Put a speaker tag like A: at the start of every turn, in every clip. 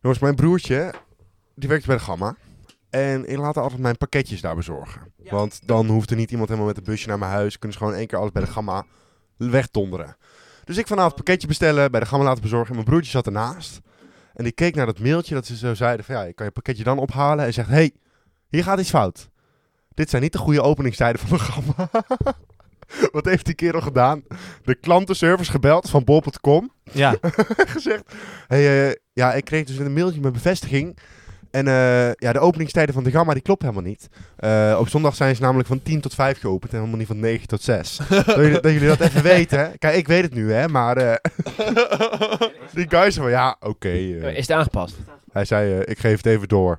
A: Jongens, mijn broertje, die werkt bij de Gamma. En ik laat altijd mijn pakketjes daar bezorgen. Want dan hoeft er niet iemand helemaal met een busje naar mijn huis. Kunnen ze gewoon één keer alles bij de Gamma wegdonderen. Dus ik vanavond pakketje bestellen, bij de Gamma laten bezorgen. En mijn broertje zat ernaast. En die keek naar dat mailtje dat ze zo zeiden van ja, je kan je pakketje dan ophalen. En zegt, hé, hey, hier gaat iets fout. Dit zijn niet de goede openingstijden van de Gamma. Wat heeft die kerel gedaan? De klantenservice gebeld van bol.com
B: Ja,
A: gezegd. Hey, eh, ja, ik kreeg dus een mailtje met bevestiging. En eh, ja, de openingstijden van de Gamma die klopt helemaal niet. Eh, op zondag zijn ze namelijk van 10 tot 5 geopend en helemaal niet van 9 tot 6. dat, jullie, dat jullie dat even weten. hè. Kijk, ik weet het nu, hè, maar eh, die guy zei van ja, oké. eh.
B: is het aangepast?
A: hij zei, eh, ik geef het even door.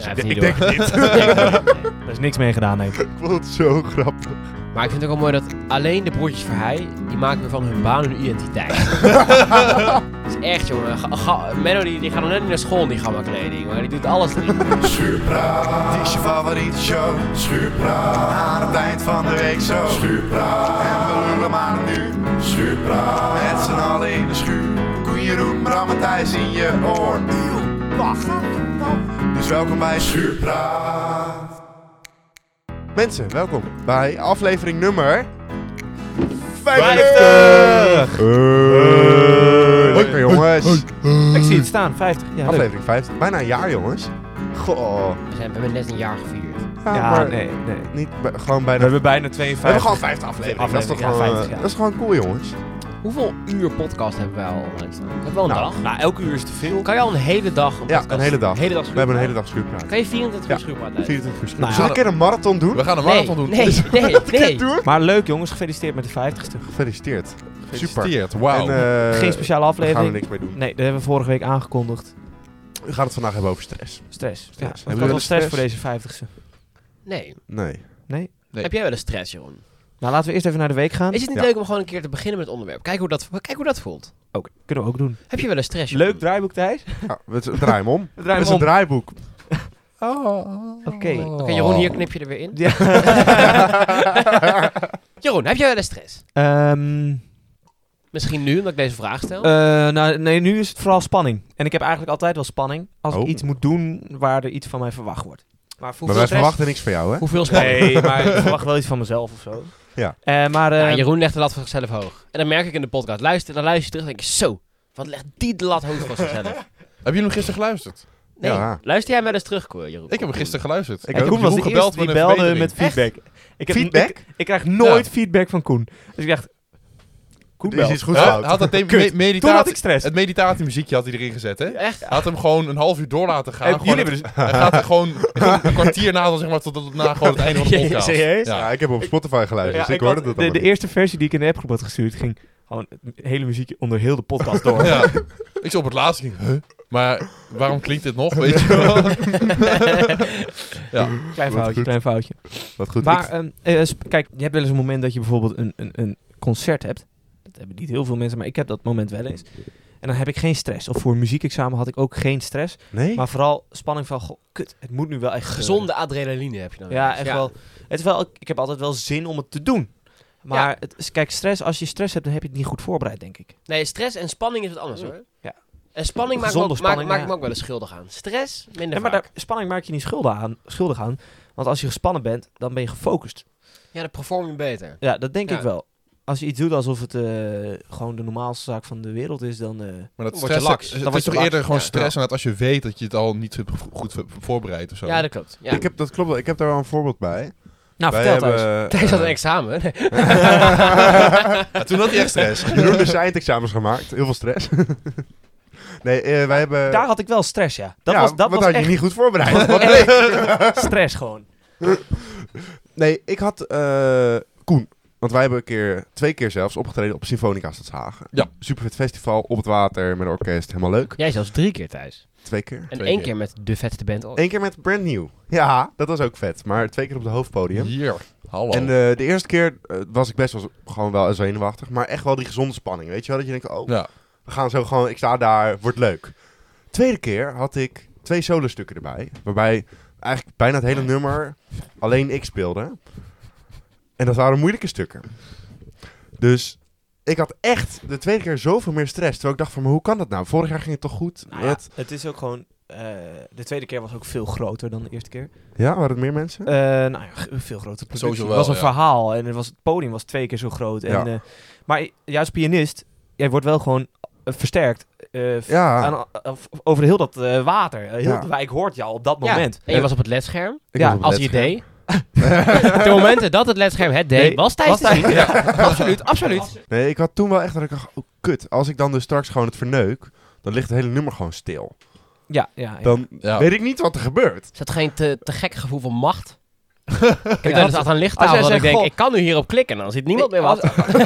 B: Ja,
A: ik denk het niet.
B: Er is niks mee gedaan, denk ik.
A: ik vond het zo grappig.
C: Maar ik vind het ook wel mooi dat alleen de broertjes Verheij, die maken weer van hun baan hun identiteit. dat is echt, jongen. Ga, ga- Menno, die, die gaat nog net niet naar school in die gamma kleding, maar die doet alles erin.
D: Schuurpraat, het is je favoriete show. Schuurpraat, aan het eind van de week zo. Schuurpraat, en we lullen maar nu. Schuurpraat, met z'n allen in de schuur. Koen, Jeroen, Bram en Thijs in je oor. Eeuw, wacht. Dus welkom bij Schuurpraat.
A: Mensen, welkom bij aflevering nummer
B: 50!
A: Hey. Hoi, jongens.
B: Ik zie het staan, 50. Ja, leuk.
A: Aflevering 50. Bijna een jaar, jongens. Goh.
C: We, zijn, we hebben net een jaar gevierd.
A: Ja,
B: Ja,
A: maar
B: nee, nee. We
A: niet bij- gewoon bijna... We
B: hebben bijna
A: hebben
B: 52.
A: gewoon 50 afleveringen. Dat is toch
B: Aflevering, ja,
A: gewoon,
B: 50, ja.
A: dat is gewoon cool, jongens.
C: Hoeveel uur podcast hebben wij al online staan? Hebben we al een
A: Nou,
C: dag?
B: Nou, elke uur is te veel.
C: Kan je al een hele dag een
A: Ja,
C: podcast-
A: een hele dag.
C: Hele dag
A: We hebben een hele dag schuurpraat.
C: Kan je 24
A: Ja,
C: uur schuurpraat
A: 24 uur schuurpraat.
B: Nou,
A: Zullen we een keer een marathon doen?
D: We gaan een
C: Nee,
D: marathon doen.
C: nee, nee, nee.
A: doen?
B: Maar leuk jongens, gefeliciteerd met de 50ste.
A: Gefeliciteerd. Super.
D: Gefeliciteerd, wauw.
A: En, eh,
B: Geen speciale
A: We gaan er
B: aflevering.
A: niks mee doen.
B: Nee, dat hebben we vorige week aangekondigd.
A: We gaan het vandaag hebben over stress.
B: Stress. Ja,
A: Hebben
B: want ik
A: jullie
B: had
A: wel
B: wel stress
A: stress?
B: voor deze 50ste.
C: Nee.
A: Nee.
B: Nee?
D: Nee.
C: Heb jij wel eens stress, Jeroen?
B: Nou, laten we eerst even naar de week gaan.
C: Is het niet
A: Ja.
C: leuk om gewoon een keer te beginnen met het onderwerp? Kijk hoe dat, kijk hoe dat voelt.
B: Oké, kunnen we ook doen.
C: Heb je wel eens stress, Jeroen?
B: Leuk draaiboek, Thijs.
A: Ja, we we draaien hem om.
B: We
A: Het
B: draaien
A: is
B: hem
A: een
B: om.
A: draaiboek.
B: Oké.
C: Oké, Jeroen, hier knip je er weer in.
B: Ja.
C: Jeroen, heb jij wel eens stress?
B: Ehm,
C: Misschien nu, omdat ik deze vraag stel.
B: eh, nou, nee, nu is het vooral spanning. En ik heb eigenlijk altijd wel spanning als
A: Oh.
B: ik iets moet doen waar er iets van mij verwacht wordt. Maar, voor
A: Maar wij verwachten niks van jou, hè?
C: Hoeveel spanning?
B: Nee, maar ik verwacht wel iets van mezelf of zo.
A: Ja.
B: Eh, maar, eh,
C: Ja, Jeroen legt de lat voor zichzelf hoog. En dan merk ik in de podcast. Luister, dan luister je terug en denk je, zo, wat legt die de lat hoog voor zichzelf?
D: Hebben jullie hem gisteren geluisterd?
C: Nee,
A: Ja.
C: luister jij wel eens terug, Cor, Jeroen?
D: Ik heb hem gisteren geluisterd.
A: Ik
B: en
A: ook.
B: Koen was de
D: Jeroen gebeld
B: eerste die
D: met een
B: belde
D: verbetering.
B: met feedback. Ik heb-
A: Feedback?
B: Ik, ik krijg nooit
D: Ja.
B: feedback van Koen. Dus ik dacht, Koen
A: Er is
B: belt.
A: iets goed
D: Hè?
A: fout.
D: Had dat thema-
B: Kut.
D: me- meditatie-
B: Toen had ik stress.
D: Het meditatiemuziekje had hij erin gezet, hè?
C: Echt?
D: Had hem gewoon een half uur door laten gaan.
B: En
D: Gewoon
B: jullie
D: het- het gaat er gewoon een kwartier na, dan zeg maar, tot tot na gewoon het einde van de podcast.
B: Serieus?
D: Ja.
A: Ja, ik heb op Spotify geluisterd,
B: Ja,
A: dus ik,
B: had-
A: hoorde dat
B: de,
A: allemaal
B: de
A: niet.
B: eerste versie die ik in de appgroep had gestuurd ging gewoon het hele muziekje onder heel de podcast door.
D: Ja. Ik zo op het laatste ging, huh? Maar waarom klinkt dit nog, weet je wel? ja.
B: Klein
A: Wat
B: foutje,
A: goed.
B: klein foutje.
A: Wat goed.
B: Maar
A: ik-
B: ehm, eh, sp- kijk, je hebt wel eens een moment dat je bijvoorbeeld een, een, een concert hebt. Dat hebben niet heel veel mensen, maar ik heb dat moment wel eens. En dan heb ik geen stress. Of voor een muziekexamen had ik ook geen stress.
A: nee?
B: Maar vooral spanning van, goh, kut, het moet nu wel echt gebeuren.
C: Gezonde adrenaline heb je dan.
B: Ja, echt wel. Het is wel. Ik heb altijd wel zin om het te doen. Maar
C: Ja.
B: het is- kijk, stress, als je stress hebt, dan heb je het niet goed voorbereid, denk ik.
C: Nee, stress en spanning is wat anders, hoor.
B: Ja.
C: En spanning maakt me
B: Gezonde
C: ook, maak,
B: spanning,
C: maak
B: ja.
C: me ook wel eens schuldig aan. Stress, minder
B: Ja, maar
C: vaak.
B: daar, spanning maak je niet schuldig aan, schuldig aan. Want als je gespannen bent, dan ben je gefocust.
C: Ja, dan perform je beter.
B: Ja, dat denk
C: Ja.
B: ik wel. Als je iets doet alsof het eh, gewoon de normaalste zaak van de wereld is, dan... eh,
D: Maar dat
C: Dan word je
D: stress,
C: laks.
D: het
B: Dan
D: is
B: word je
D: toch
B: laks.
D: eerder gewoon
C: Ja.
D: stress en dat als je weet dat je het al niet goed- goed voorbereidt of zo.
C: Ja, dat klopt. Ja.
A: Ik heb, dat klopt wel. Ik heb daar wel een voorbeeld bij.
B: nou,
A: Wij
B: vertel het eens.
A: hebben,
C: Tijdens dat
A: eh,
C: examen. Nee.
D: Ja, toen had hij echt stress.
A: Jeroen heeft eindexamens gemaakt. Heel veel stress. nee, eh, wij hebben...
B: Daar had ik wel stress, ja. Dat
A: Ja,
B: was, dat
A: want
B: was
A: had
B: echt
A: je niet goed voorbereid.
B: stress gewoon.
A: nee, ik had eh, Koen. Want wij hebben een keer, twee keer zelfs, opgetreden op Symfonica Stadshagen.
D: Ja.
A: Supervet festival, op het water, met een orkest. Helemaal leuk.
C: Jij zelfs drie keer thuis.
A: Twee keer.
C: En
D: Twee
C: één
D: keer.
C: keer met de vetste band ooit.
A: Eén keer met Brand New. Ja, dat was ook vet. Maar twee keer op het hoofdpodium.
D: Hier, hallo.
A: En eh, de eerste keer eh, was ik best wel z- gewoon wel zenuwachtig. Maar echt wel die gezonde spanning. Weet je wel? Dat je denkt, oh,
D: ja.
A: we gaan zo gewoon, ik sta daar, wordt leuk. Tweede keer had ik twee solostukken erbij. Waarbij eigenlijk bijna het hele nummer alleen ik speelde. En dat waren moeilijke stukken. Dus ik had echt de tweede keer zoveel meer stress. Terwijl ik dacht van, maar hoe kan dat nou? Vorig jaar ging het toch goed?
B: Nou ja,
A: Wat-
B: het is ook gewoon... eh, de tweede keer was ook veel groter dan de eerste keer.
A: ja, waren het meer mensen?
B: Eh, nou ja, g- veel groter productie.
E: Sowieso wel,
B: het was een
E: ja.
B: verhaal en het, was, het podium was twee keer zo groot. En,
A: Ja.
B: eh, maar i- jij als pianist, jij wordt wel gewoon eh, versterkt eh, v-
A: Ja.
B: aan- eh, v- over heel dat eh, water. Eh, heel
A: Ja.
B: de wijk hoort jou op dat
C: Ja,
B: moment.
C: En je was op het ledscherm.
A: Ik
B: ja,
A: was op het
C: Als je het
A: ledscherm.
C: deed. Op de momenten dat het ledscherm het deed,
B: Nee,
C: was Thijs
B: was
C: te zien. Absoluut, absoluut.
A: Nee, ik had toen wel echt dat ik dacht, oh kut. Als ik dan dus straks gewoon het verneuk, dan ligt het hele nummer gewoon stil.
B: Ja, ja, ja.
A: Dan
E: Ja.
A: weet ik niet wat er gebeurt.
C: Is dat geen te, te gek gevoel van macht? Ik denk dat het aan een
B: als jij
C: lichttafel dat ik
B: zegt,
C: denk,
B: goh-
C: ik kan nu hierop klikken. Dan ziet niemand meer wat.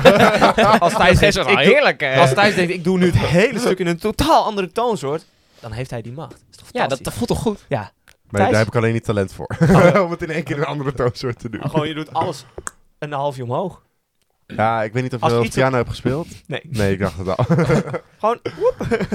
B: als Thijs
C: Dat is
B: denkt,
C: wel
B: ik doe-
C: heerlijk. eh.
B: als Thijs denkt, ik doe nu het hele stuk in een totaal andere toonsoort, dan heeft hij die macht. Is toch
C: Ja, dat, dat voelt toch goed?
A: Maar
B: Thijs? Oh.
A: daar heb ik alleen niet talent voor. Om het in één keer een andere toonsoort te doen.
B: Ah, Gewoon, je doet alles een halfje omhoog.
A: Ja, ik weet niet of je
B: Als
A: wel
B: iets-
A: piano hebt gespeeld.
B: Nee.
A: Nee, ik dacht het al.
B: Gewoon,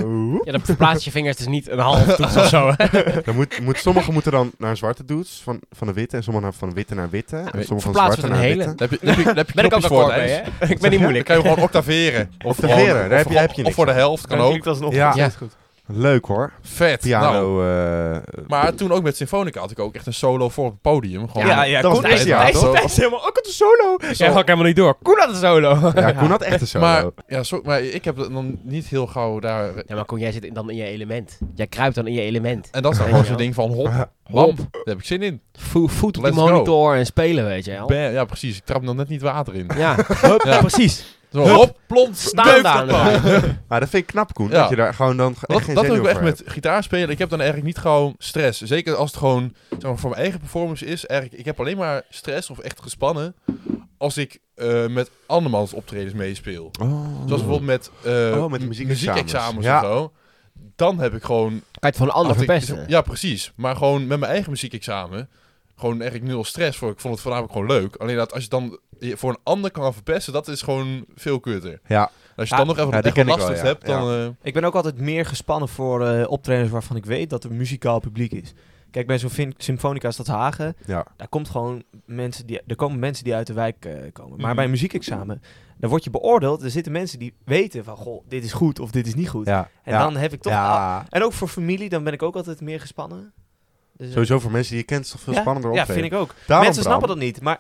A: Oeh.
C: Ja, dan verplaatst je vingers dus niet een half toets of zo. hè.
A: Dan moet, moet, sommigen moeten dan naar zwarte dudes van, van de witte en sommigen naar- van witte naar witte. en sommigen van
C: verplaatsen we
A: zwarte
C: een
A: naar witte.
C: hele.
E: Daar heb je, daar heb je, daar heb je
C: Ben ik ook
E: knopjes voor,
C: akkoord mee,
E: Thijs.
C: hè? Ik ben niet
E: Dan
C: moeilijk.
E: kan je gewoon octaveren. Of
A: Octaveren,
E: gewoon-
A: daar heb
E: of
A: je- heb
E: gewoon-
A: je
E: Of
A: niks
E: voor de helft, kan ook.
B: alsnog.
A: Ja.
B: dat is goed.
A: Leuk hoor.
E: Vet. Nou,
A: Piano. eh,
E: maar toen ook met Symfonica had ik ook echt een solo voor op het podium. Gewoon
B: Ja, ja,
A: dat was
B: Koen, Thijs,
A: het eerste
B: Thijs,
A: jaar, toch?
B: Thijs is helemaal ook op de solo.
C: Jij ga ik helemaal niet door. Koen had een solo.
A: ja, Koen had echt een solo.
E: Maar, ja, zo- maar ik heb het dan niet heel gauw daar... eh,
C: Ja, maar Koen, jij zit dan in je element. Jij kruipt dan in je element.
E: En dat is dan
C: Ja.
E: gewoon zo'n ding van hop, hop, daar heb ik zin in.
C: Vo- Voet op de
E: Let's go.
C: monitor en spelen, weet je wel.
E: Bam, ja, precies. Ik trap dan net niet water in.
C: Ja,
E: Ja.
C: precies.
E: Zo, hop, plont,
C: Staan
E: staan
C: daar.
A: Maar dat vind ik knap, Koen.
E: Ja.
A: Dat je daar gewoon dan ge- echt
E: Dat,
A: geen
E: dat
A: zin
E: heb ik
A: over
E: echt
A: hebt.
E: met gitaar spelen. Ik heb dan eigenlijk niet gewoon stress. Zeker als het gewoon zeg maar, voor mijn eigen performance is. Eigenlijk, ik heb alleen maar stress of echt gespannen als ik eh, met andermans optredens meespeel.
A: Oh.
E: Zoals bijvoorbeeld met, eh
A: Oh, met
E: mu-
A: muziekexamens.
E: muziekexamens
A: Ja.
E: of zo. Dan heb ik gewoon...
C: Kan je het van een ander
E: had ik-
C: verpesten?
E: ja, precies. Maar gewoon met mijn eigen muziekexamen. Gewoon eigenlijk nul stress voor. Ik vond het voornamelijk gewoon leuk. Alleen dat als je dan je voor een ander kan gaan verpesten, dat is gewoon veel kutter.
A: Ja.
E: En Als je
B: Ja,
E: dan nog even
A: ja,
E: wat
A: die
E: echt wat
A: ken ik
E: lastigs
A: wel, ja.
E: hebt, dan... eh,
B: Ik ben ook altijd meer gespannen voor eh optredens waarvan ik weet dat er muzikaal publiek is. Kijk, bij zo'n fin- Symfonica Stadhagen,
A: Ja.
B: daar, komt gewoon mensen die, er komen mensen die uit de wijk eh, komen. Maar
E: Mhm.
B: bij een muziekexamen, daar word je beoordeeld. Er zitten mensen die weten van, goh, dit is goed of dit is niet goed.
A: Ja.
B: En
A: ja.
B: dan heb ik toch... al-
A: ja.
B: En ook voor familie, dan ben ik ook altijd meer gespannen. Dus, eh,
A: Sowieso voor mensen die je kent is het toch veel
B: ja,
A: spannender
B: Ja,
A: optreden.
B: vind ik ook.
A: Daarom,
B: mensen snappen
A: Bram,
B: dat niet, maar...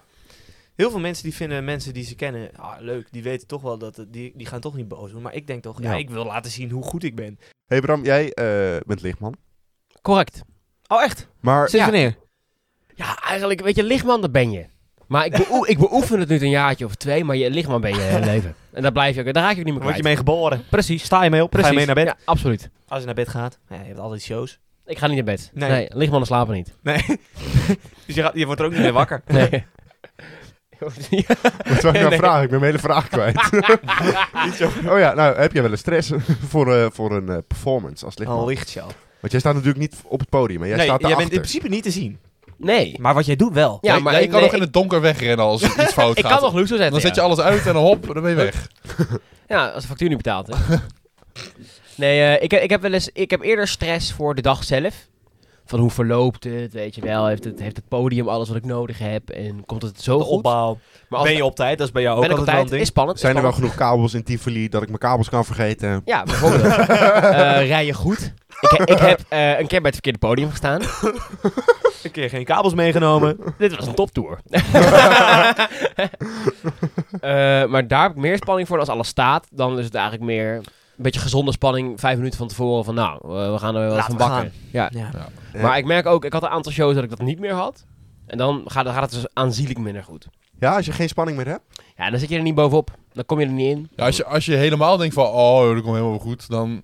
B: Heel veel mensen die vinden mensen die ze kennen ah, leuk, die weten toch wel dat het- die, die gaan toch niet boos doen. Maar ik denk toch, ja,
A: Ja.
B: ik wil laten zien hoe goed ik ben.
A: hey Bram, jij eh, bent lichtman.
C: Correct.
B: Oh, echt?
A: Maar
B: Sinds wanneer?
C: Ja, eigenlijk, weet je, lichtman, dat ben je. Maar ik, beoe- ik beoefen het nu een jaartje of twee, maar je lichtman ben je hele leven. En daar blijf je ook, daar raak je ook niet meer
B: Dan word
C: kwijt.
B: je mee geboren.
C: Precies.
B: Sta je mee op,
C: Precies.
B: ga je mee naar bed.
C: Ja, absoluut.
B: Als je naar bed gaat, ja, je hebt altijd shows.
C: Ik ga niet naar bed. Nee,
B: Nee.
C: lichtmannen slapen niet.
B: Nee. dus je, gaat, je wordt er ook niet meer wakker.
C: Nee.
A: wat zou ik nou
C: Nee.
A: vragen? Ik ben mijn hele vraag kwijt. Iets over- oh ja, nou heb jij wel eens stress voor, eh, voor een eh, performance als lichtman?
B: Al ligt jou.
A: Want jij staat natuurlijk niet op het podium, maar jij
B: nee,
A: staat
B: jij
A: daarachter.
B: bent in principe niet te zien.
C: nee.
B: Maar wat jij doet wel.
C: Ja,
E: nee,
C: maar
E: nee, je kan
C: nee,
E: nog in het donker wegrennen als er iets fout
C: ik
E: gaat.
C: kan nog loezo zetten.
E: dan zet je
C: ja.
E: alles uit en dan hop, dan ben je weg.
C: Ja, als de factuur niet betaald. Hè? nee, eh, ik, ik heb wel eens. Ik heb eerder stress voor de dag zelf. Van hoe verloopt het, weet je wel. Heeft het, heeft het podium alles wat ik nodig heb? En komt het zo
B: De
C: goed?
B: opbouw.
C: Maar als
B: ben je op tijd? Dat is bij jou ook
C: ben ik op
B: altijd wel
C: tijd?
B: een ding.
C: Is spannend. is
A: Zijn er wel
C: spannend.
A: genoeg kabels in Tivoli dat ik mijn kabels kan vergeten?
C: Ja, bijvoorbeeld. Eh rij je goed? Ik, he- ik heb eh, een keer bij het verkeerde podium gestaan.
B: Een keer geen kabels meegenomen.
C: Dit was een toptour. Eh, maar daar heb ik meer spanning voor. En Als alles staat, dan is het eigenlijk meer een beetje gezonde spanning. Vijf minuten van tevoren van nou, eh, we gaan er wel
B: Laten
C: van
B: we
C: bakken. Ja.
B: Ja.
A: Ja.
C: Maar ik merk ook, ik had een aantal shows dat ik dat niet meer had. En dan gaat, dan gaat het dus aanzienlijk minder goed.
A: Ja, als je geen spanning meer hebt.
C: Ja, dan zit je er niet bovenop. Dan kom je er niet in.
E: Ja, als, je, als je helemaal denkt van, oh, dat komt helemaal goed, dan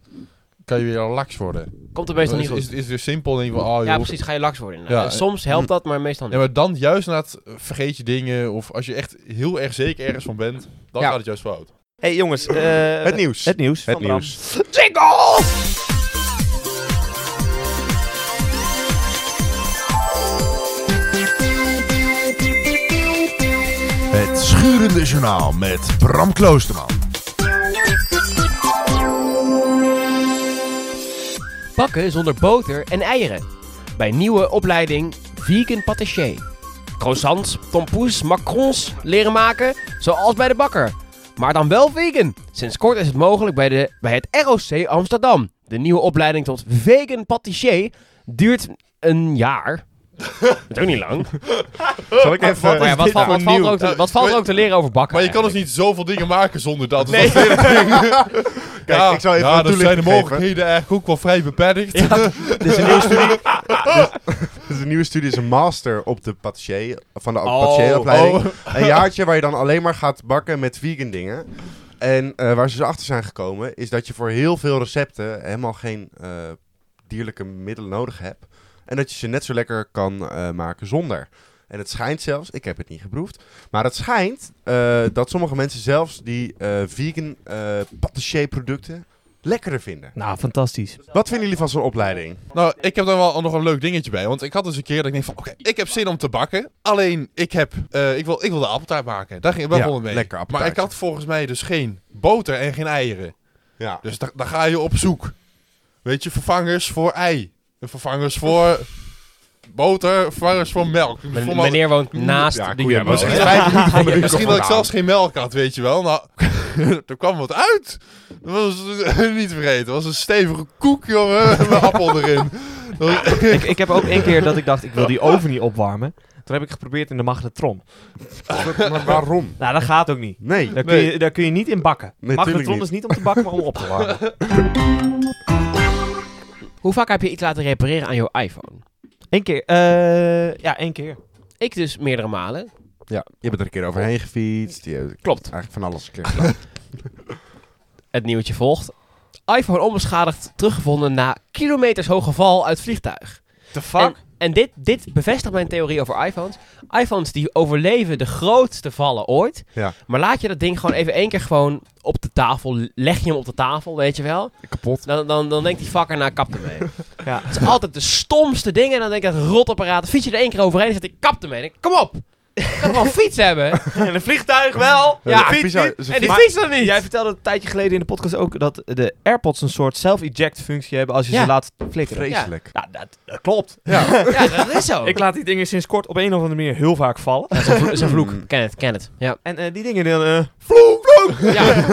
E: kan je weer lax worden.
C: Komt het
E: Is,
C: meestal
E: is,
C: niet goed.
E: is het weer simpel en denk je van, oh, joh.
C: ja, precies. Ga je laks worden.
E: Ja, eh, hm.
C: En soms helpt dat, maar meestal
E: Ja,
C: niet.
E: maar dan juist na het vergeet je dingen of als je echt heel erg zeker ergens van bent, dan
C: Ja.
E: gaat het juist fout.
B: hey, jongens. eh,
A: Het nieuws.
B: Het nieuws.
A: Het
B: van Bram.
A: nieuws.
C: Jingle!
D: Het Schurende Journaal met Bram Kloosterman.
C: Bakken zonder boter en eieren. Bij nieuwe opleiding Vegan Patissier. Croissants, tompoes, macarons leren maken, zoals bij de bakker. Maar dan wel vegan. Sinds kort is het mogelijk bij, de, bij het ROC Amsterdam. De nieuwe opleiding tot vegan patissier duurt een jaar. Dat is ook niet lang.
A: Zal ik even...
B: Eh,
C: Maar ja, wat, valt- wat valt er ook te, wat valt er ook te leren over bakken?
E: Maar je kan dus
C: eigenlijk?
E: niet zoveel dingen maken zonder dat. Dus
C: Nee.
E: dat is weer een ding.
A: Kijk, ik zal even
E: ja,
A: een
E: dan zijn de
A: toelichting geven.
E: mogelijkheden eigenlijk ook wel vrij beperkt.
A: Dit is een nieuwe studie. Dit is een nieuwe studie, is een master op de patissier, van de
C: Oh.
A: patissieropleiding. Een jaartje waar je dan alleen maar gaat bakken met vegan dingen. En eh, waar ze dus achter zijn gekomen, is dat je voor heel veel recepten helemaal geen eh, dierlijke middelen nodig hebt. En dat je ze net zo lekker kan eh, maken zonder. En het schijnt zelfs, ik heb het niet geproefd, maar het schijnt eh, dat sommige mensen zelfs die eh, vegan eh patissier producten lekkerder vinden.
B: Nou, fantastisch.
A: Wat vinden jullie van zo'n opleiding?
E: Nou, ik heb daar wel nog een leuk dingetje bij. Want ik had dus een keer dat ik denk van, oké, ik heb zin om te bakken. Alleen, ik, heb, eh, ik, wil, ik wil de appeltaart maken. Daar ging ik wel
A: Ja,
E: gewoon mee.
A: lekker
E: maar ik
A: appeltaartje.
E: had volgens mij dus geen boter en geen eieren.
A: Ja.
E: Dus da- daar ga je op zoek. Weet je, vervangers voor ei. Vervangers voor boter, vervangers voor melk.
C: Men-
E: Voor
C: meneer woont naast
A: Ja,
C: de
A: koeien
C: Jumbo.
A: wel,
E: Misschien,
A: hè?
E: dat-
A: Vijf minuten van de
E: Ja,
A: winkel
E: misschien dat ik
A: vandaan.
E: zelfs geen melk had, weet je wel. Nou, er kwam wat uit. Dat was niet vergeten. Dat was een stevige koek, jongen. Met appel erin. Dat was-
B: ik, ik heb ook één keer dat ik dacht, ik wil die oven niet opwarmen. Toen heb ik geprobeerd in de magnetron.
A: Maar waarom?
B: Nou, dat gaat ook niet.
A: Nee.
B: Daar kun, je, daar kun je niet in bakken.
A: Nee,
B: magnetron
A: tuurlijk niet.
B: is niet om te bakken, maar om op te warmen.
C: Hoe vaak heb je iets laten repareren aan jouw iPhone?
B: Eén keer. eh, ja, één keer.
C: Ik dus meerdere malen.
A: Ja, je bent er een keer overheen gefietst. Je hebt
C: Klopt.
A: eigenlijk van alles een keer gedaan.
C: Het nieuwtje volgt. iPhone onbeschadigd teruggevonden na kilometers hoge val uit vliegtuig.
B: The
C: En, en dit, dit bevestigt mijn theorie over iPhones. iPhones die overleven de grootste vallen ooit.
A: Ja.
C: Maar laat je dat ding gewoon even één keer gewoon op de tafel. Leg je hem op de tafel, weet je wel.
A: Kapot.
C: Dan, dan, dan denkt die fucker, nou kap ermee.
B: Ja.
C: Het is altijd de stomste dingen. En dan denk ik, dat rotapparaat. Dan fiets je er één keer overheen en zegt, ik kap ermee. Dan denk ik, kom op. Ik kan gewoon een fiets hebben.
B: En een vliegtuig wel.
A: Ja,
C: Ja,
A: dat is
C: fiets
A: bizar.
C: niet.
A: Dat is een
C: En die
B: fiets.
C: fiets dan niet.
B: Jij vertelde een tijdje geleden in de podcast ook dat de AirPods een soort self-eject functie hebben als je
C: Ja.
B: ze laat flikkeren.
A: Vreselijk.
B: Nou, dat, dat klopt.
C: Ja, dat is
A: Oh.
C: zo.
B: Ik laat die dingen sinds kort op een of andere manier heel vaak vallen.
C: Dat is een vlo- is een vloek.
A: Mm.
C: Ken het, ken het. Ja.
B: En eh, die dingen dan... eh,
C: ja.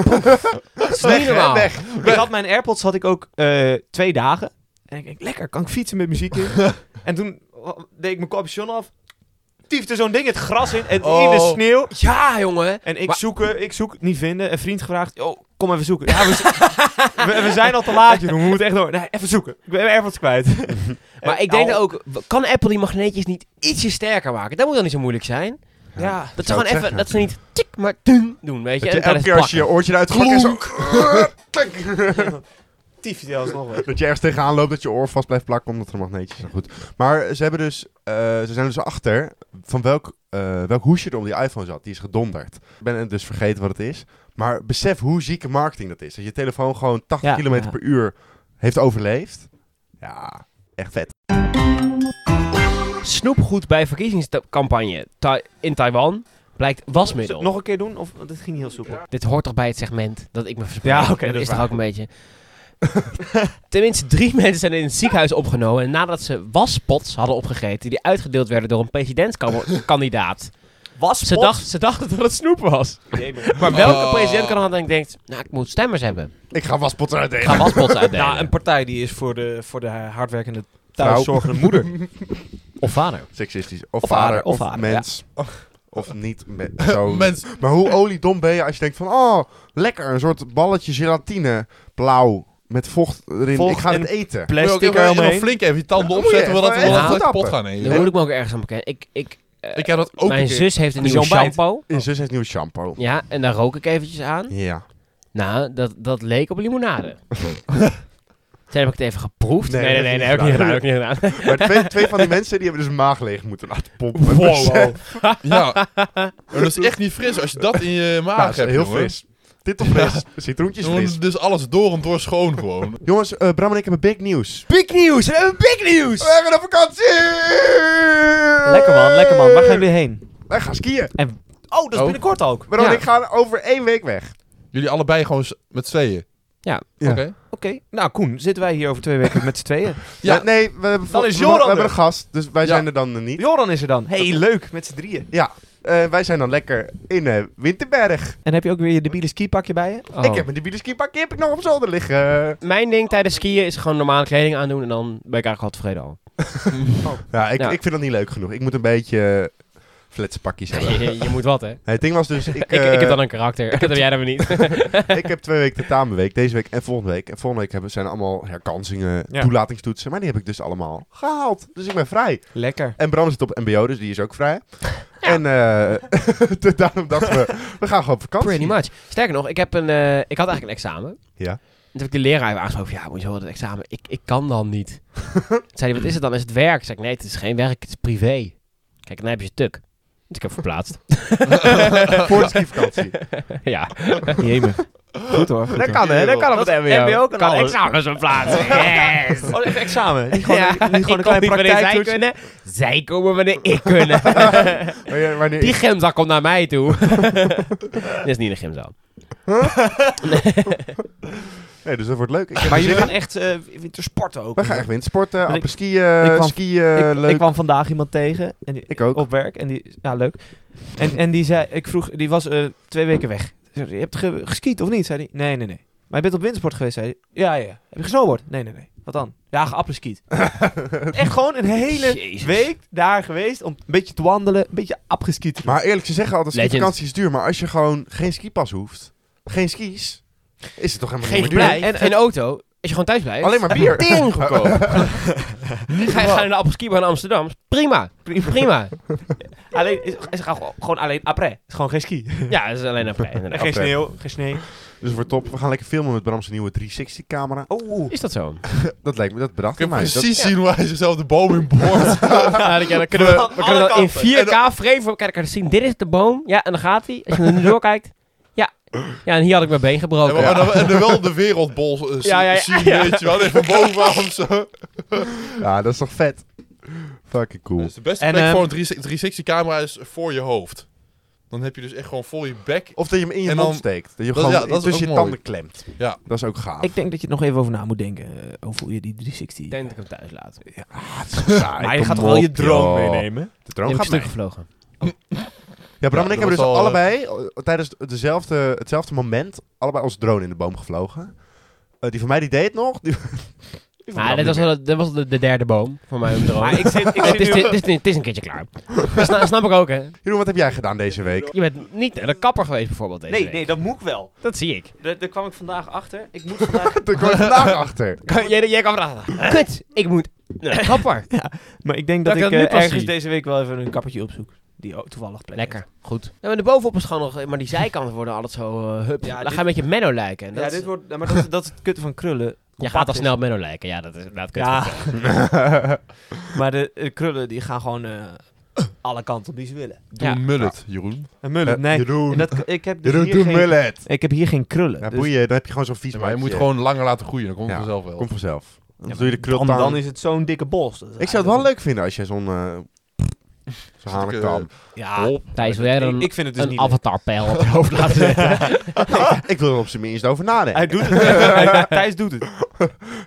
C: Dat is niet normaal.
B: Ik had mijn AirPods had ik ook eh, twee dagen. En ik denk, lekker, kan ik fietsen met muziek in? en toen eh, deed ik mijn capuchon af. Tiefde zo'n ding het gras in en in de
E: Oh.
B: sneeuw.
C: Ja, jongen.
B: En ik
C: Maar-
B: zoeken, ik zoek, niet vinden. Een vriend gevraagd, oh, kom even zoeken. Ja, we, z- we, we zijn al te laat, Jeroen. We moeten echt door. Nee, even zoeken. Ik ben mijn AirPods kwijt. Eh,
C: Maar ik denk dat ook, w- kan Apple die magneetjes niet ietsje sterker maken? Dat moet dan niet zo moeilijk zijn.
B: Ja,
C: Dat ze
A: zou
C: gewoon
A: het
C: even,
A: zeggen.
C: dat ze niet tik maar tung doen, weet je.
A: Dat je
C: en tijdens
A: elke keer als je je oortje eruit pakt en zo...
B: tiefde alsnog wel.
A: Dat je ergens tegenaan loopt, dat je oor vast blijft plakken omdat er magneetjes zijn. Goed. Maar ze, hebben dus, eh, ze zijn dus achter van welk, eh, welk hoesje er op die iPhone zat. Die is gedonderd. Ik ben het dus vergeten wat het is. Maar besef hoe zieke marketing dat is. Dat je telefoon gewoon 80
B: Ja,
A: km
B: ja.
A: per uur heeft overleefd. Ja, echt vet.
C: plakken. Snoepgoed bij verkiezingscampagne Ta- in Taiwan blijkt wasmiddel.
B: Nog een keer doen? Of, want dit ging heel soepel.
C: Dit hoort toch bij het segment dat ik me verspreid.
B: Ja, oké, dat
C: dat is
B: is
C: toch
B: waar.
C: ook een beetje... Tenminste, drie mensen zijn in het ziekenhuis opgenomen... en nadat ze waspots hadden opgegeten... die uitgedeeld werden door een presidentskandidaat.
B: Was
C: Ze, dacht, ze dachten dat het snoep was. Maar welke
E: Oh.
C: presidentkandidaat denkt... nou, ik moet stemmers hebben.
A: Ik ga waspotten
C: Ik
A: uitdelen.
C: ga waspots uitdelen.
B: Nou, een partij die is voor de, voor de hardwerkende
A: Vrouw.
B: thuiszorgende moeder.
C: Of vader.
A: Seksistisch. Of,
B: Of
A: vader,
B: vader,
A: of,
B: of vader,
A: mens. Of niet. me- Zo.
E: Mens.
A: Maar hoe oliedom ben je als je denkt van... Oh, lekker. Een soort balletje gelatine. Blauw. Met vocht erin.
B: Vocht
A: ik ga
B: en
A: het eten.
E: Moet je ook
B: Plastic
E: even- even
B: eromheen.
E: flink even je tanden
A: Ja,
E: opzetten,
A: moet je
E: voordat we
A: even
E: dat
A: goed
E: kapot
A: tappen.
E: gaan eten.
C: Daar moet ik me ook ergens aan bekennen. Ik, ik, eh,
E: Ik heb dat ook een
C: mijn
E: keer.
C: zus heeft een
B: Als je
C: nieuwe
B: ontbijt.
C: shampoo.
A: Mijn zus heeft nieuw shampoo.
C: Ja, en daar rook ik eventjes aan.
A: Ja.
C: Nou, dat, dat leek op limonade. Toen heb ik het even geproefd.
A: Nee,
C: Nee, nee, nee, nee, heb ik
A: dat
C: niet
A: is
C: gedaan.
A: waar.
C: Heb ik niet gedaan.
A: Maar twee, twee van die mensen die hebben dus maag leeg moeten laten pompen. Dus- oh.
E: Wow. Ja. Maar dat is echt niet fris als je dat in je maag
A: Ja, is
E: hebt,
A: Nou, heel
E: jongen.
A: fris. Dit toch fris. Citroentjes
E: Jongen,
A: fris.
E: Dus alles door en door schoon gewoon.
A: Jongens, eh, Bram en ik hebben big nieuws.
C: Big nieuws! We hebben big nieuws!
A: We gaan op vakantie!
B: Lekker man, lekker man. Waar gaan jullie heen?
A: Wij gaan skiën.
B: Oh, dat is
E: Oh.
B: binnenkort ook.
A: Bram en
C: Ja.
A: ik gaan over één week weg.
E: Jullie allebei gewoon s- met tweeën.
C: Ja.
A: Ja.
E: Oké.
B: Oké, nou Koen, zitten wij hier over twee weken met z'n tweeën.
E: Ja.
A: Eh, nee, we hebben,
B: Dan is
A: we-
B: Joran
A: we hebben
B: er.
A: een gast, dus wij
E: Ja.
A: zijn er dan niet.
B: Joran is er dan. hey, leuk, met z'n drieën.
A: Ja, Eh, wij zijn dan lekker in eh, Winterberg.
B: En heb je ook weer je debiele skipakje bij je? Oh.
A: Ik heb mijn debiele skipakje heb ik nog op zolder liggen.
C: Oh. Mijn ding tijdens skiën is gewoon normale kleding aandoen en dan ben ik eigenlijk al tevreden al.
A: Ja, ik,
C: Ja.
A: ik vind dat niet leuk genoeg. Ik moet een beetje eh, fletse pakjes hebben.
C: je, je moet wat, hè?
A: Nee, het ding was dus, ik,
C: Ik, ik
A: eh,
C: heb dan een karakter. Dat heb jij dan weer niet.
A: ik heb twee weken tentamenweek, deze week en volgende week. En volgende week hebben, zijn allemaal herkansingen,
B: Ja.
A: toelatingstoetsen, maar die heb ik dus allemaal gehaald. Dus ik ben vrij.
B: Lekker.
A: En Bram zit op mbo, dus die is ook vrij. En eh daarom dachten we, we gaan gewoon op vakantie.
C: Pretty much. Sterker nog, ik, heb een, eh, ik had eigenlijk een examen.
A: Ja.
C: En toen heb ik de leraar even aangesproken. Ja, moet je wel dat examen. Ik, ik kan dan niet. Toen zei hij, wat is het dan? Is het werk? Zei ik, nee, het is geen werk. Het is privé. Kijk, dan heb je het tuk. Dus ik heb verplaatst.
A: Voor de skivakantie.
C: ja.
B: Jemig. Goed hoor. Goed
A: Dat
B: hoor.
A: kan, hè? Dat kan op het mbo.
C: ook kan
B: Kan
C: al examens verplaatsen. Yes.
B: Oh, even examen. Niet gewoon, niet gewoon
C: ik kom
B: een kleine
C: niet wanneer zij
B: praktijktoets.
C: kunnen. Zij komen wanneer ik kunnen.
A: Wanneer- wanneer
C: Die
A: ik-
C: gymzaal komt naar mij toe. Dit is niet een gymzaal.
A: Nee, dus dat wordt leuk. Ik heb
B: Maar
A: er
B: jullie
A: zin
B: gaan
A: in.
B: echt eh, winter sporten ook.
A: We gaan echt wintersporten,
B: ik-
A: apres skiën,
B: ik kwam-
A: skiën,
B: ik,
A: Eh, leuk.
B: ik kwam vandaag iemand tegen en die,
A: Ik ook.
B: op werk en die ja leuk en, en die zei ik vroeg die was eh, twee weken weg Ik zei, je hebt ge- geskiet of niet zei hij nee nee nee maar je bent op wintersport geweest zei hij ja ja ja. heb je gesnowboard nee nee nee wat dan ja geappreskiet echt gewoon een hele
C: Jezus.
B: week daar geweest om een beetje te wandelen een beetje apgeskiet te doen.
A: Maar eerlijk, ze zeggen altijd,
C: Legend.
A: skivakantie is duur. Maar als je gewoon geen skipas hoeft, geen skis, is het toch helemaal
C: Geen
A: niet meer duur?
C: verblijf, en, geen auto. Als je gewoon thuis blijft.
A: Alleen maar bier.
C: Tering goedkoop. Ga je naar de appelskibar in Amsterdam? Prima. Prima.
B: alleen is, is gewoon, gewoon alleen après Het is gewoon geen ski
C: Ja, dat is alleen
B: en
C: een plek.
B: geen
A: après.
B: sneeuw geen sneeuw
A: Dus het wordt top. We gaan lekker filmen met Bram's nieuwe 360 camera.
B: oh
C: Is dat zo?
A: Dat lijkt me, dat bedacht
E: Ik heb
A: hij mij. Dat-
E: precies zien hoe hij zichzelf de boom in boort.
C: Ja, dan- ja, dan kunnen we,
B: Van
C: we kunnen
B: alle
C: dat in
B: kanten.
C: 4K frame voor elkaar zien. Dit is de boom. Ja, en dan gaat hij. Als je er nu doorkijkt. Ja. Ja, en hier had ik mijn been gebroken.
E: En, dan, en dan wel de wereldbol eh,
C: Ja, ja, ja.
E: zien, weet je wel. Even bovenaf of zo.
A: Ja, dat is toch vet. Fucking cool.
E: Dus de beste
B: En,
E: plek
B: ehm,
E: voor een 360-camera is voor je hoofd. Dan heb je dus echt gewoon vol je bek.
A: Of dat je hem in je
E: En
A: mond
E: dan-
A: steekt. Dat je hem
E: dat-
A: gewoon
E: ja, dat is
A: tussen je
E: ook mooi.
A: tanden klemt.
E: Ja.
A: Dat is ook gaaf.
B: ik denk dat je er nog even over na moet denken eh, over hoe je die 360
C: Ik denk dat ik hem thuis laat. Ik
A: Ah,
B: maar je gaat toch wel je droom meenemen
A: De
C: heb
A: droom
C: een
A: gaat
C: stuk
A: mee.
C: gevlogen.
A: Ja, Bram en
E: Ja,
A: ik hebben
E: dat
A: dus
E: was al, eh,
A: allebei eh, tijdens dezelfde, hetzelfde moment allebei als drone in de boom gevlogen. Eh, die van mij die deed het nog. Die, die van Bram
C: Nou,
A: niet
C: dit was,
A: meer.
C: wel, dit was de, de derde boom voor mij om te
B: Maar ik zit, ik
C: Oh, Het is,
B: zit nu...
C: het, is, het is een keertje klaar. Dat sna- snap ik ook, hè.
A: Jeroen, wat heb jij gedaan deze week?
C: Je bent niet naar de kapper geweest, bijvoorbeeld, deze
B: Nee,
C: week.
B: nee, dat moet ik wel.
C: Dat zie ik.
B: Daar daar kwam ik vandaag achter. Ik moet vandaag...
A: Daar kwam ik vandaag achter.
C: jij, jij kan vragen. Kut, ik moet naar de kapper.
B: maar ik denk
C: Dat
B: dat, ik,
C: ik dat nu
B: eh,
C: pas
B: ergens
C: zie.
B: deze week wel even een kappertje opzoek. Die ook toevallig plek
C: Lekker, goed. Nou, en de bovenop is gewoon nog... eh, Maar die zijkanten worden altijd zo... eh, hup.
B: Ja,
C: dan
B: dit-
C: ga je met je Menno lijken. En
B: heeft.
C: dat
B: Ja,
C: is-
B: dit wordt... ja, maar dat, dat is het kutte van krullen.
C: je
B: Compact
C: gaat al
B: is-
C: snel op Menno lijken. Ja, dat is inderdaad kut.
B: Ja. maar de, eh, krullen, die gaan gewoon eh, alle kanten op die ze willen.
E: Doe
C: Ja.
E: een mullet, Jeroen.
B: Een
A: Eh,
B: mullet, nee.
A: Jeroen,
B: En dat, ik, heb dus
A: Jeroen
B: hier
A: doe
B: geen,
A: mullet.
B: ik heb hier geen krullen.
A: Ja,
B: dus
A: boeien, dan heb je gewoon zo'n vies
E: Ja, maar je moet
A: mandje.
E: gewoon langer laten groeien. Dan komt het
A: Ja,
E: vanzelf wel. Dus
A: Komt vanzelf. Dan
B: Ja,
A: doe je de
B: dan,
A: krultang.
B: dan is het zo'n dikke bos. Dat is
A: Ik zou het wel
B: eigenlijk-
A: leuk vinden als jij zo'n... eh zo'n
E: eh,
A: hanekam.
B: Ja,
E: Op.
C: Thijs, wil jij dan
B: ik, ik vind het dus
C: een
B: niet leuk.
C: avatarpijl op je hoofd laten zetten?
A: ik wil er op zijn minst over nadenken.
B: Hij doet het. Thijs doet het.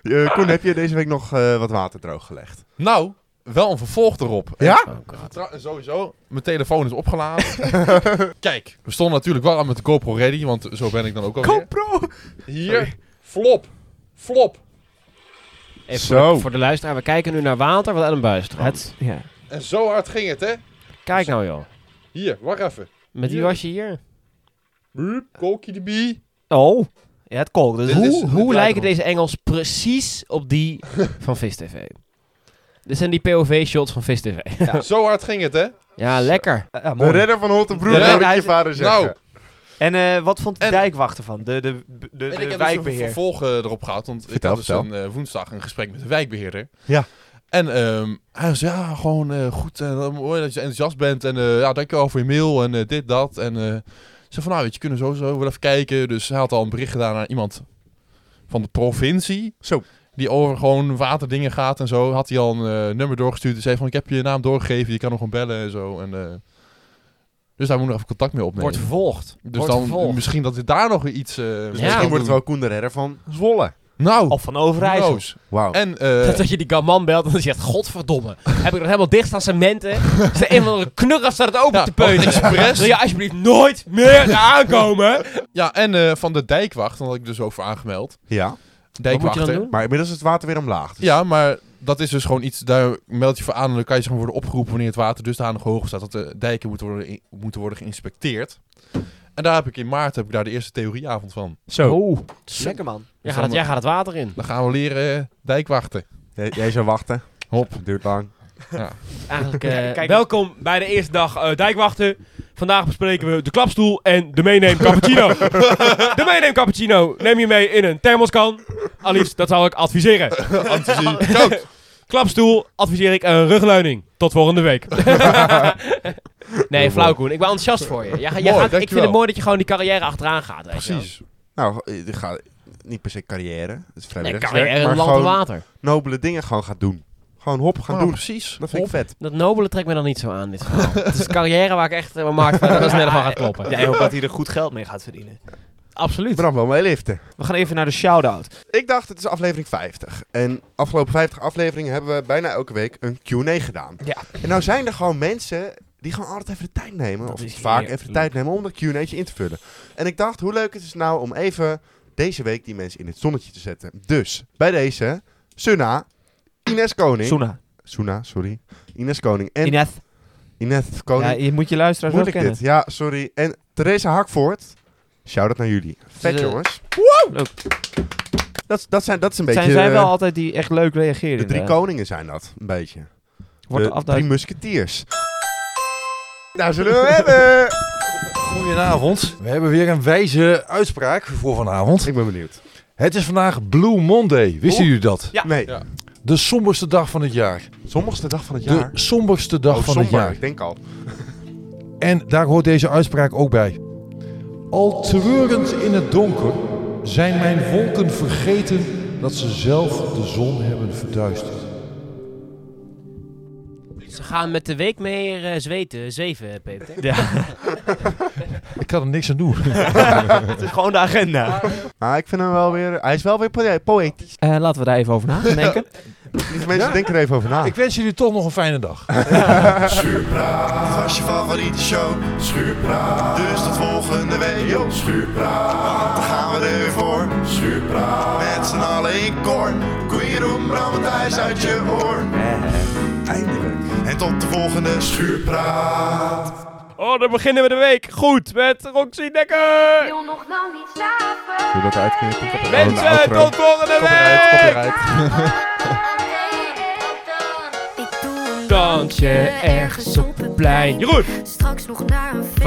A: Eh, Koen, heb je deze week nog eh, wat water droog gelegd?
E: Nou, wel een vervolg erop.
A: Ja?
C: Oh god.
E: Tra- Sowieso, mijn telefoon is opgeladen. Kijk, we stonden natuurlijk wel aan met de GoPro ready, want zo ben ik dan ook alweer.
B: GoPro!
E: Hier, flop, flop.
C: Even
A: Zo.
C: Voor, de, voor de luisteraar, we kijken nu naar water wat uit een buis stroomt.
B: Het, ja.
E: En zo hard ging het, hè?
C: Kijk nou joh.
E: Hier, wacht even.
C: Met wie
E: Hier.
C: was je hier?
E: Boep, Kookje de bie.
B: Oh. Ja, het kolk. Dus
E: Dit is-
C: Hoe,
E: dit
C: hoe
E: lijkt
C: lijken
E: erop.
C: deze Engels precies op die van Vis TV? Dit zijn die POV-shots van Vis TV.
E: Zo hard ging het, hè?
C: Ja, lekker.
B: Ja,
A: De
B: mooi.
A: redder van Holtenbroek,
E: Ja,
A: hoor ik
B: hij
A: je
B: is-
A: vader zeggen.
E: Nou,
B: En eh, wat vond de
E: En-
B: dijkwachter van? De, de, de, de
E: en ik heb dus een
B: Eh, wijkbeheer.
E: vervolg eh, erop gehad, want
A: Vertel,
E: ik had dus een eh, woensdag een gesprek met de wijkbeheerder.
A: Ja.
E: En ehm, hij zei, ja, gewoon eh, goed, en eh, mooi dat je enthousiast bent en eh ja, dankjewel voor je mail en eh, dit, dat. En eh, ik zei van, nou weet je, kunnen we sowieso wel even kijken. Dus hij had al een bericht gedaan aan iemand van de provincie.
A: Zo.
E: Die over gewoon waterdingen gaat en zo. Had hij al een eh, nummer doorgestuurd. Hij zei van, ik heb je naam doorgegeven, je kan hem gewoon bellen en zo. En, eh, dus daar moet nog even contact mee opnemen.
C: Wordt vervolgd.
E: dus
C: wordt
E: dan
C: vervolgd.
E: misschien dat hij daar nog iets... eh, mee
A: Dus
C: Ja.
E: kan
A: misschien wordt
E: doen.
A: het wel Koen de redder van Zwolle.
E: Nou,
B: Of van Overijssel.
E: Roos.
A: Wauw.
F: Oh.
E: En eh,
C: Dat, dat je die gaman belt en dan zegt, godverdomme, heb ik dat helemaal dicht aan cementen? Is er een van de knurren staat het open
E: Ja,
C: te peunen?
E: expres.
C: Wil je alsjeblieft nooit meer aankomen?
E: ja, en eh, van de dijkwacht, daar had ik dus over aangemeld.
A: ja.
E: Dijkwachter.
C: doen?
A: Maar inmiddels is het water weer omlaag. Dus
E: Ja, maar dat is dus gewoon iets, daar meld je voor aan en dan kan je zeg maar, worden opgeroepen wanneer het water dusdanig hoog staat dat de dijken moeten worden, in- moeten worden geïnspecteerd. En daar heb ik in maart heb ik daar de eerste theorieavond van.
A: Zo.
C: Oh,
B: Lekker man.
C: Jij gaat, het, jij gaat het water in.
E: Dan gaan we leren eh, dijkwachten.
A: Jij, jij zou wachten.
E: Hop.
A: Duurt lang.
C: Eigenlijk, eh,
B: Kijk- kijk-
C: welkom bij de eerste dag eh, Dijkwachten. Vandaag bespreken we de klapstoel en de meeneem cappuccino. de meeneem cappuccino neem je mee in een thermoskan. Alice, dat zou ik adviseren.
E: Antisie. Koud.
C: Klapstoel adviseer ik een rugleuning. Tot volgende week. nee, flauw Koen. Ik ben enthousiast voor je. Jij, gaat- jij
E: Mooi,
C: gaat, ik vind
E: dankjewel.
C: het mooi dat je gewoon die carrière achteraan gaat. weet je wel.
E: Precies.
A: Nou, eh, ik ga niet per se carrière. Het is
C: Nee,
A: vrijwilligerswerk.
C: carrière,
A: maar
C: land en
A: gewoon
C: water.
A: nobele dingen gewoon gaat doen. Gewoon hop gaan
F: Nou,
E: Ah,
A: doen.
E: Precies.
A: Dat vind ik vet.
C: Dat nobele trekt me dan niet zo aan, dit verhaal. het is carrière waar ik echt eh, mijn markt van dat sneller van gaat kloppen.
B: Jij hoopt dat hij er goed geld mee gaat verdienen.
A: Ik
C: eh, absoluut.
A: ben nog wel mee liften.
B: We gaan even naar de shout-out.
A: Ik dacht, het is aflevering 50. En afgelopen 50 afleveringen hebben we bijna elke week een Q&A gedaan.
B: Ja.
A: En nou zijn er gewoon mensen die gewoon altijd even de tijd nemen.
C: Dat
A: of
C: is
A: vaak
C: heerlijk.
A: even de tijd nemen om dat Q&A'tje in te vullen. En ik dacht, hoe leuk het is nou om even deze week die mensen in het zonnetje te zetten. Dus, bij deze, Sunna, Ines Koning.
B: Suna.
A: Suna, sorry. Ines Koning en
B: Ines.
A: Ines
B: Ja,
A: Koning.
B: je moet je luisteraars wel
A: Moeilijk
B: kennen.
A: dit. Ja, sorry. En Theresa Hakvoort. Shout-out naar jullie. Vet,
B: eh,
A: jongens.
B: leuk.
A: Dat, dat, zijn, dat is een beetje...
B: Zijn zij wel
A: eh,
B: altijd die echt leuk reageren?
A: de drie
B: inderdaad?
A: koningen zijn dat, een beetje.
B: Wordt
A: de
B: de afduiding-
A: drie musketiers. Daar zullen we hebben.
F: Goedenavond. We hebben weer een wijze uitspraak voor vanavond.
A: Ik ben benieuwd.
F: Het is vandaag Blue Monday. Wisten
A: Oh.
F: jullie dat?
B: Ja.
A: Nee,
E: Ja.
F: De somberste dag van het jaar.
A: sommigste dag van het
F: De
A: jaar.
F: somberste dag
A: Oh,
F: van
A: somber,
F: het
A: ik
F: jaar.
A: denk al.
F: En daar hoort deze uitspraak ook bij. Al treurend in het donker zijn mijn wolken vergeten dat ze zelf de zon hebben verduisterd.
C: Ze gaan met de week meer eh, zweten, zeven, Peter.
F: Ik kan er niks aan doen.
B: Het is gewoon de agenda.
A: Maar ik vind hem wel weer... Hij is wel weer poë- poëtisch.
B: Eh, laten we daar even over nadenken.
A: Die mensen denken er even over na.
F: Ik wens jullie toch nog een fijne dag.
D: Schuurpraat was je favoriete show. Schuurpraat, dus tot volgende week. Yo, schuurpraat, want dan gaan we er weer voor. Schuurpraat, met z'n allen in koor. Koen Jeroen, Bram en Thijs uit je oor. Eindelijk. En tot de volgende schuurpraat.
C: Oh, dan beginnen we de week goed met Roxy Dekker.
G: wil nog lang niet slapen.
A: Doe dat uitknippen.
C: Mensen, tot volgende
E: Copyright,
C: week.
E: copyright.
G: Ik doe een
C: Dans je ergens op het plein. Jeroen,
G: Straks nog naar een feestje.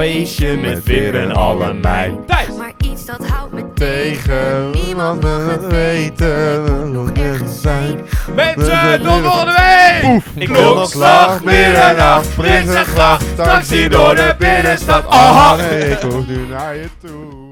D: Feestje met weer en alle mij.
C: Thijs.
G: Maar iets dat houdt me tegen.
A: Tegen niemand
G: Niemand mag het
A: weten. We nog ergens zijn.
C: Mensen, tot volgende week. Ik
A: Klokslag, meer en af.
C: Prinsengracht,
A: Prinsengracht. Taxi door de binnenstad.
C: Ah.
A: Ah, ik hoef nu naar je toe.